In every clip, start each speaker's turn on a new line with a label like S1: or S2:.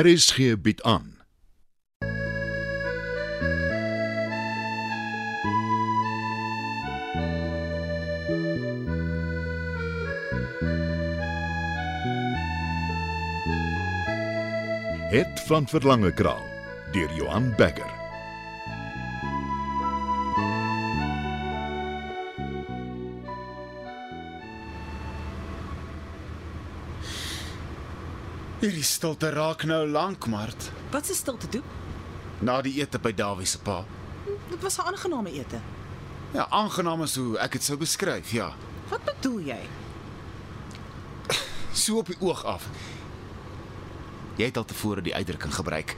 S1: RSG bied aan. Het van Verlange Kraal deur Johan Becker.
S2: Hierdie stilte raak nou lank, Mart.
S3: Wat se stilte toe?
S2: Na die ete by Dawie se pa.
S3: Dit was 'n aangename ete.
S2: Ja, aangenaam is hoe ek dit sou beskryf, ja.
S3: Wat bedoel jy?
S2: So op die oog af. Jy het al tevore die uitdrukking gebruik.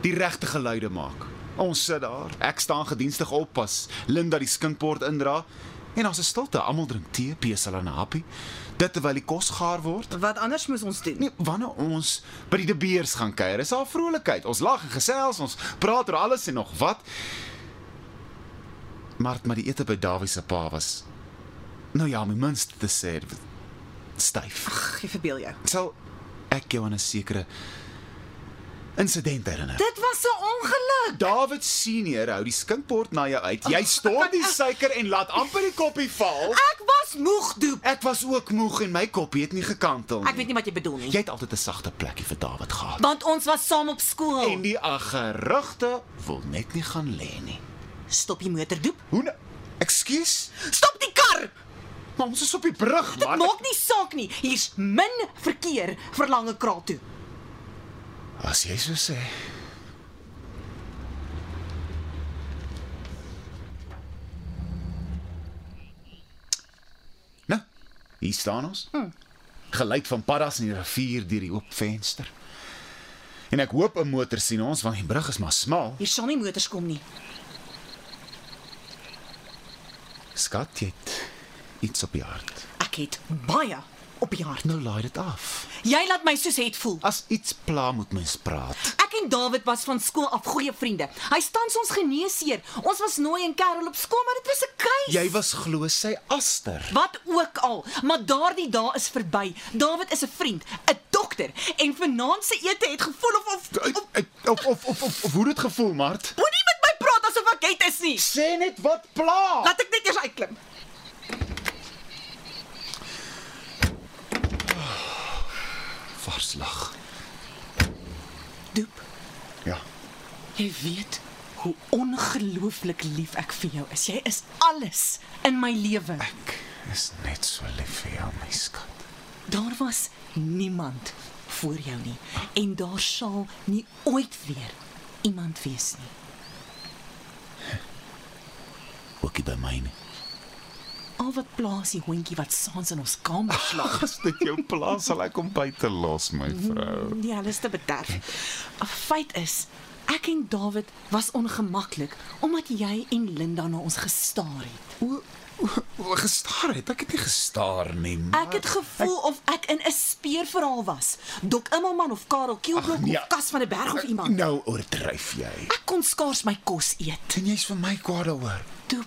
S2: Die regte geluide maak. Ons sit daar. Ek staan gedienstig op pas. Linda die skinkbord indra en ons is stilte. Almal drink tee, pesel en 'n happie. Dit terwyl die kos gaar word.
S3: Wat anders moes ons doen?
S2: Nee, wanneer ons by die De Beers gaan kuier, is daar vrolikheid. Ons lag en gesels, ons praat oor alles en nog wat. Maar maar die ete by Dawie se pa was nou ja, my minste te sê dit was styf.
S3: Ag, jy verbeel jou.
S2: Sal ek jou aan 'n sekere insident herinner.
S3: Dit was 'n ongeluk.
S2: David senior hou die skinkbord na jou uit. Jy stort die suiker en laat amper die koppie val.
S3: Ek was moeg doep.
S2: Ek was ook moeg en my koppie het nie gekantel nie.
S3: Ek weet nie wat jy bedoel nie.
S2: Jy het altyd 'n sagte plekkie vir David gehad.
S3: Want ons was saam op skool.
S2: En die aggerugte wil net nie gaan lê nie.
S3: Stop die motor doep.
S2: Hoe nou? Ekskuus?
S3: Stop die kar.
S2: Maar ons is op die brug,
S3: Dit
S2: man.
S3: maak nie saak nie. Hier's min verkeer verlange kraal toe.
S2: As jy so sê. Nou, hier staan ons. Hmm. Geluid van paddas in die rivier deur die oop venster. En ek hoop 'n motor sien ons want die brug is maar smal.
S3: Hier sal nie motors kom nie.
S2: Skat, jy het iets op die hart.
S3: Ek het baie op die hart.
S2: Nou laai dit af.
S3: Jy laat my soos het voel.
S2: As iets pla moet mens praat.
S3: Ek en David was van skool af goeie vriende. Hy staan ons geneesheer. Ons was nooi en kerel op skool, maar dit was 'n keuse.
S2: Jy was glo sy aster.
S3: Wat ook al, maar daardie dae is verby. David is 'n vriend, 'n dokter en vanaand se ete het gevoel of of of
S2: Of of of of, of hoe dit gevoel, Mart?
S3: moenie met my praat asof ek het is nie.
S2: Sê net wat pla.
S3: Laat ek net eers uitklim.
S2: Varslag.
S3: Doep,
S2: Ja.
S3: jy weet hoe ongelooflik lief ek vir jou is. Jy is alles in my lewe.
S2: Ek is net so lief vir jou, my skat.
S3: Daar was niemand voor jou nie en daar sal nie ooit weer iemand wees nie.
S2: Ookie by myne.
S3: Al wat plaas die hondjie wat saans in ons kamer slaap.
S2: As dit jou pla, sal ek hom buite los, my vrou.
S3: Nee, alles te bederf. 'n Feit is, ek en David was ongemaklik omdat jy en Linda na ons gestaar het.
S2: O, o, o, gestaar het. Ek het nie gestaar nie, maar
S3: Ek het gevoel of ek in 'n speurverhaal was. Dok Immelman of Karel Kielbrok
S2: Ag, nee.
S3: of Cas van der Berg of iemand.
S2: Nou oordryf jy.
S3: Ek kon skaars my kos eet.
S2: En jy's vir my kwaad daaroor.
S3: Toe.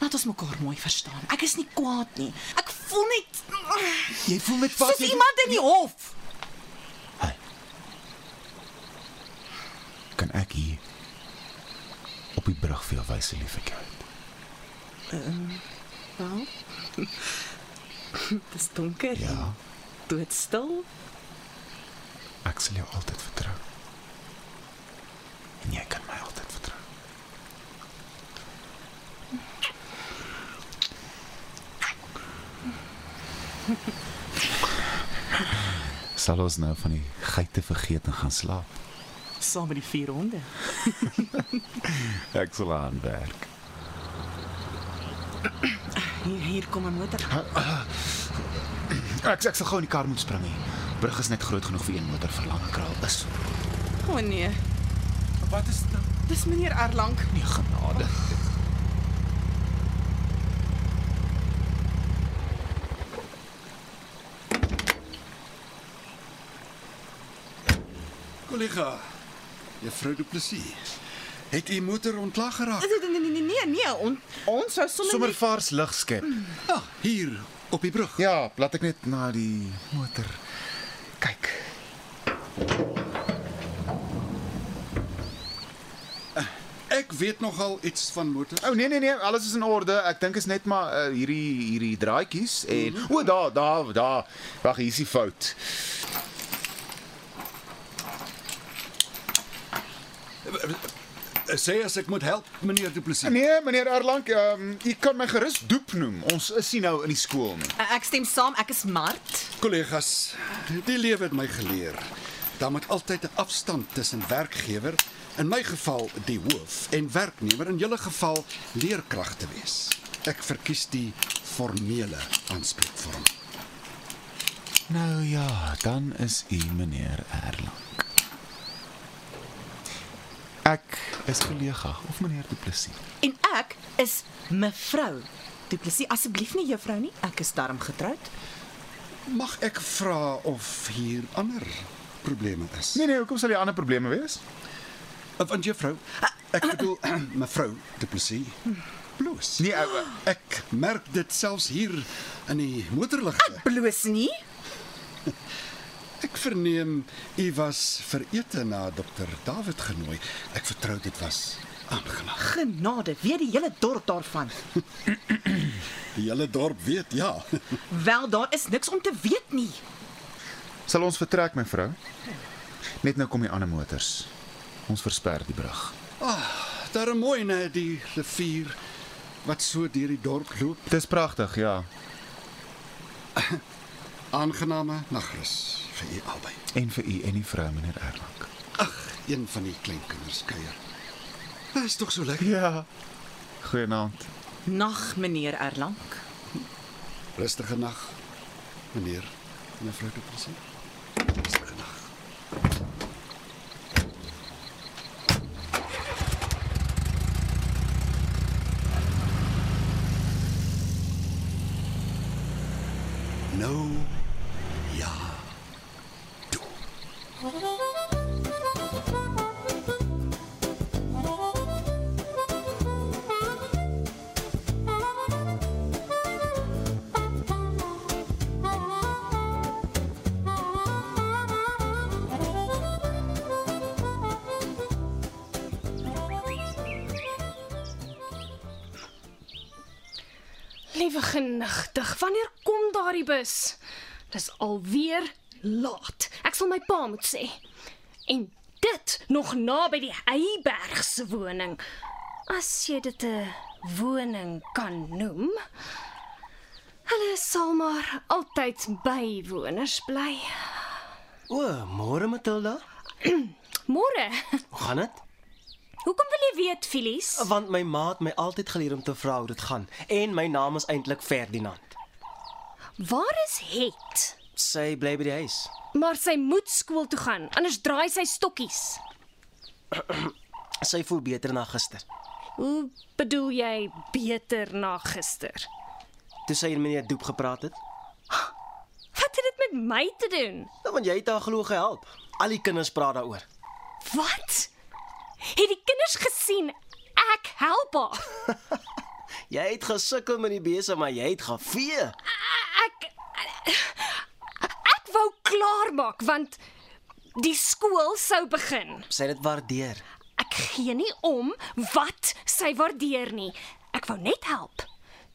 S3: Laat ons mekaar mooi verstaan. Ek is nie kwaad nie. Ek voel net
S2: Jy voel net
S3: soos iemand in die hof.
S2: Hey. Kan ek hier op die brug vir jou wys hoe lief ek jou het?
S3: Wel. Dit is donker.
S2: Ja.
S3: Doodstil.
S2: Ek sal jou altyd vertrou. En jy kan my altyd vertrou. Sal ons nou van die geite vergeet en gaan slaap?
S3: Saam met die vier honde.
S2: Ek sal aanwerk.
S3: Hier, hier kom 'n motor.
S2: Ek ek sal gou in die kar moet spring hier. Brug is net groot genoeg vir een motor vir lange kraal is.
S3: O oh, nee,
S2: Wat is dit nou?
S3: dis meneer Erlang.
S2: Nee, genade.
S4: Kollega, juffrou Du Plessis, het u motor ontlaag geraak?
S3: Nee nee nee nee, nee. On, ons sou sommer,
S2: Sommer vars lig skep. Ah,
S4: Ja, hier op die brug.
S2: Ja, laat ek net na die motor kyk.
S4: Ek weet nogal iets van motors.
S2: O oh, nee nee nee, alles is in orde. Ek dink is net maar uh, hierdie hierdie draadjies en mm -hmm. o daar daar daar. Wag, hier is die fout.
S4: eh, Sê as ek moet help, meneer Du Plessis.
S2: Nee, meneer Erlang, um, u kan my gerus doep noem. Ons is nie nou in die skool nie.
S3: Ek stem saam, ek is Mart.
S4: Kollegas, die lewe het my geleer. Daar moet altyd 'n afstand tussen werkgewer, in my geval die hoof, en werknemer, in julle geval leerkrag te wees. Ek verkies die formele aanspreekvorm.
S2: Nou ja, dan is u meneer Erlang. Ek is kollega of meneer Du Plessis.
S3: En ek is mevrou. Du Plessis, asseblief nie juffrou nie. Ek is darm getroud.
S4: Mag ek vra of hier ander probleme is?
S2: Nee nee, hoekom sal jy ander probleme wees?
S4: Of aan juffrou? Ek bedoel mevrou Du Plessis. Bloos.
S2: Nee, ou,
S4: Ek merk dit selfs hier in die motorligte.
S3: Bloos nie.
S4: Ek verneem u was vir ete na dokter David genooi. Ek vertrou dit was aangenaam.
S3: Genade, weet die hele dorp daarvan.
S4: Die hele dorp weet, ja.
S3: Wel, daar is niks om te weet nie.
S2: Sal ons vertrek, mevrou? Net nou kom die ander motors. Ons versper die brug.
S4: Daar 'n mooi nê die rivier wat so deur die dorp loop.
S2: Dis pragtig, ja.
S4: Aangename nagrus vir u albei.
S2: En vir u en die vrou, meneer Erlang.
S4: Ag, een van die kleinkinders kuier. Dit is tog so lekker.
S2: Ja. Goeienaand.
S3: Nag, meneer Erlang.
S4: Rustige nag, meneer. Mevrou Du Plessis. Rustige nag. Nou ja. Toe.
S5: Liewe genigtig, wanneer kom daardie bus? Dis alweer laat. Ek sal my pa moet sê. En dit nog naby die Heyberg se woning. As jy dit 'n woning kan noem. Hulle sal maar altyd bywoners bly.
S6: O, môre Matilda.
S5: Môre.
S6: Hoe gaan dit?
S5: Hoekom wil jy weet, Filies?
S6: Want my ma het my altyd geleer om te vra hoe dit gaan en my naam is eintlik Ferdinand.
S5: Waar is Het?
S6: Sy bly by die huis.
S5: Maar sy moet skool toe gaan, anders draai sy stokkies.
S6: Sy voel beter na gister.
S5: Hoe bedoel jy beter na gister?
S6: Toe sy en meneer Doep gepraat het,
S5: Wat het dit met my te doen?
S6: "Nou, want jy het haar glo gehelp. Al die kinders praat daaroor.
S5: Wat? Het die kinders gesien ek help haar?
S6: Jy het gesukkel met die besig, maar jy het gevee.
S5: Ek ek wou klaarmaak want die skool sou begin.
S6: Sy het dit waardeer.
S5: Ek gee nie om wat sy waardeer nie. Ek wou net help.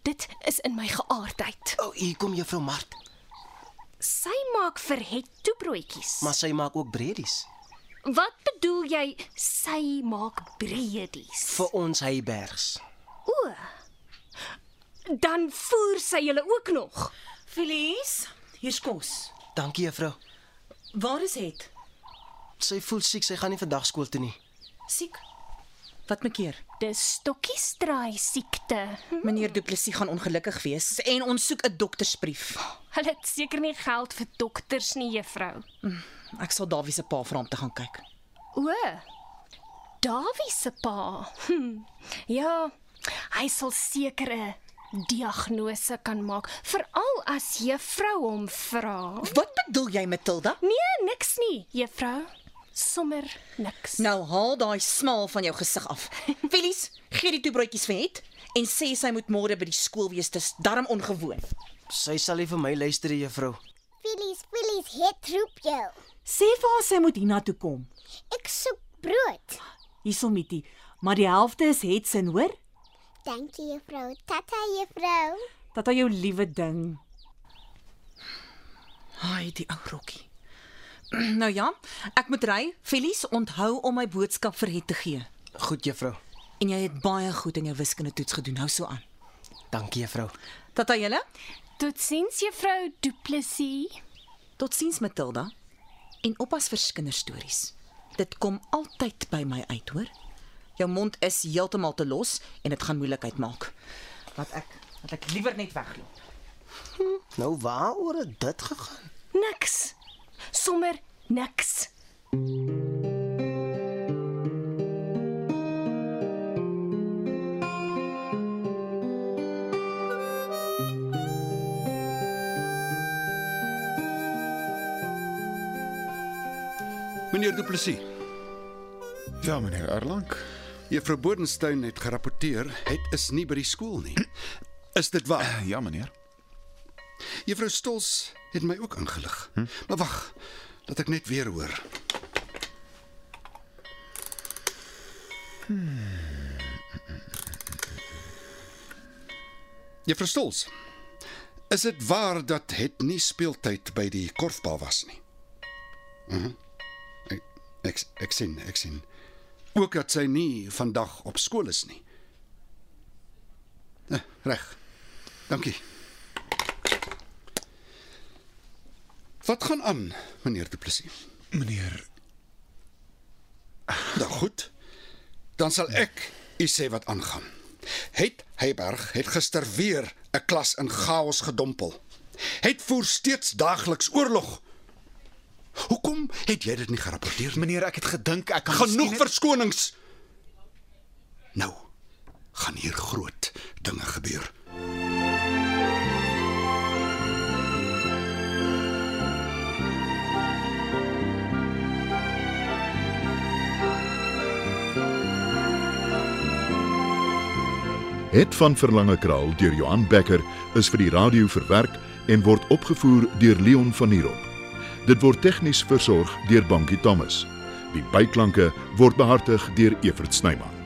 S5: Dit is in my geaardheid.
S6: O, oh, hier kom juffrou Mart,
S5: Sy maak vir het toebroodjies.
S6: maar sy maak ook bredies
S5: Wat bedoel jy sy maak breedies?
S6: vir ons Heybergs.
S5: O. Dan voer sy julle ook nog.
S3: Felies, hier's kos.
S6: Dankie juffrou.
S3: Waar is het?
S6: Sy voel siek, sy gaan nie vandag skool toe nie.
S3: Siek. Wat maak keer?
S5: Dis stokkies draai siekte.
S3: Meneer Du Plessis gaan ongelukkig wees en ons soek 'n doktersbrief.
S5: Hulle het seker nie geld vir dokters nie, juffrou.
S3: Ek sal Dawie se pa vra om te gaan kyk.
S5: O. Dawie se pa. Hm. Ja, hy sal seker 'n diagnose kan maak, veral as juffrou hom vra.
S3: Wat bedoel jy, Matilda?
S5: Nee, niks nie, juffrou. Sommer niks.
S3: Nou haal daai smaal van jou gesig af. Felies, gee die toebroodjies vir het en sê sy moet môre by die skool wees. Dis darm ongewoon.
S6: Sy sal nie vir my luister, nie, juffrou.
S7: Filies, Filies, het roep jou.
S3: Sê vir haar sy moet hiernatoe kom.
S7: Ek soek brood.
S3: Hiersomitie, maar die helfte is hetsin, hoor?
S7: Dankie juffrou. Tata juffrou.
S3: Dat hy jou liewe ding. Haai, die ou rokkie. Nou ja, ek moet ry. Felies, onthou om my boodskap vir het te gee.
S6: Goed juffrou.
S3: En jy het baie goed in jou wiskunde toets gedoen. Hou so aan.
S6: Dankie juffrou.
S3: Tata julle.
S5: Totsiens juffrou Du Plessis.
S3: Totsiens Matilda. En oppas vir kinderstories. Dit kom altyd by my uit, hoor. Jou mond is heeltemal te los en dit gaan moeilikheid maak. Wat ek, wat ek liewer net wegloop.
S6: Nou waaroor het dit gegaan?
S5: Niks. Sommer niks.
S4: Meneer Du Plessis,
S2: Ja, meneer Erlang.
S4: Juffrou Bodenstein het gerapporteer, het is nie by die skool nie. Is dit waar?
S2: Ja, meneer.
S4: Juffrou Stols het my ook ingelig. Hm? Maar wag, laat ek net weer hoor.
S2: Hmm.
S4: Juffrou Stols, is dit waar dat het nie speeltyd by die korfbal was nie? Mhm. Ek ek ek sien, ek sien. Ook dat sy nie vandag op skool is nie. Eh, Reg. Dankie. Wat gaan aan, meneer Du Plessis?
S2: Meneer,
S4: Nou goed. Dan sal ek u sê wat aangaan. Het Heyberg het gister weer 'n klas in chaos gedompel. Het voer steeds daagliks oorlog. Hoekom het jy dit nie gerapporteer nie?
S2: meneer, ek het gedink ek kan
S4: Genoeg
S2: miskien-
S4: verskonings. Nou gaan hier groot dinge gebeur.
S1: Het van Verlange Kraal deur Johan Becker is vir die radio verwerk en word opgevoer deur Leon Van Heerop. Dit word tegnies versorg deur Bankie Thomas. Die byklanke word behartig deur Evert Snyman.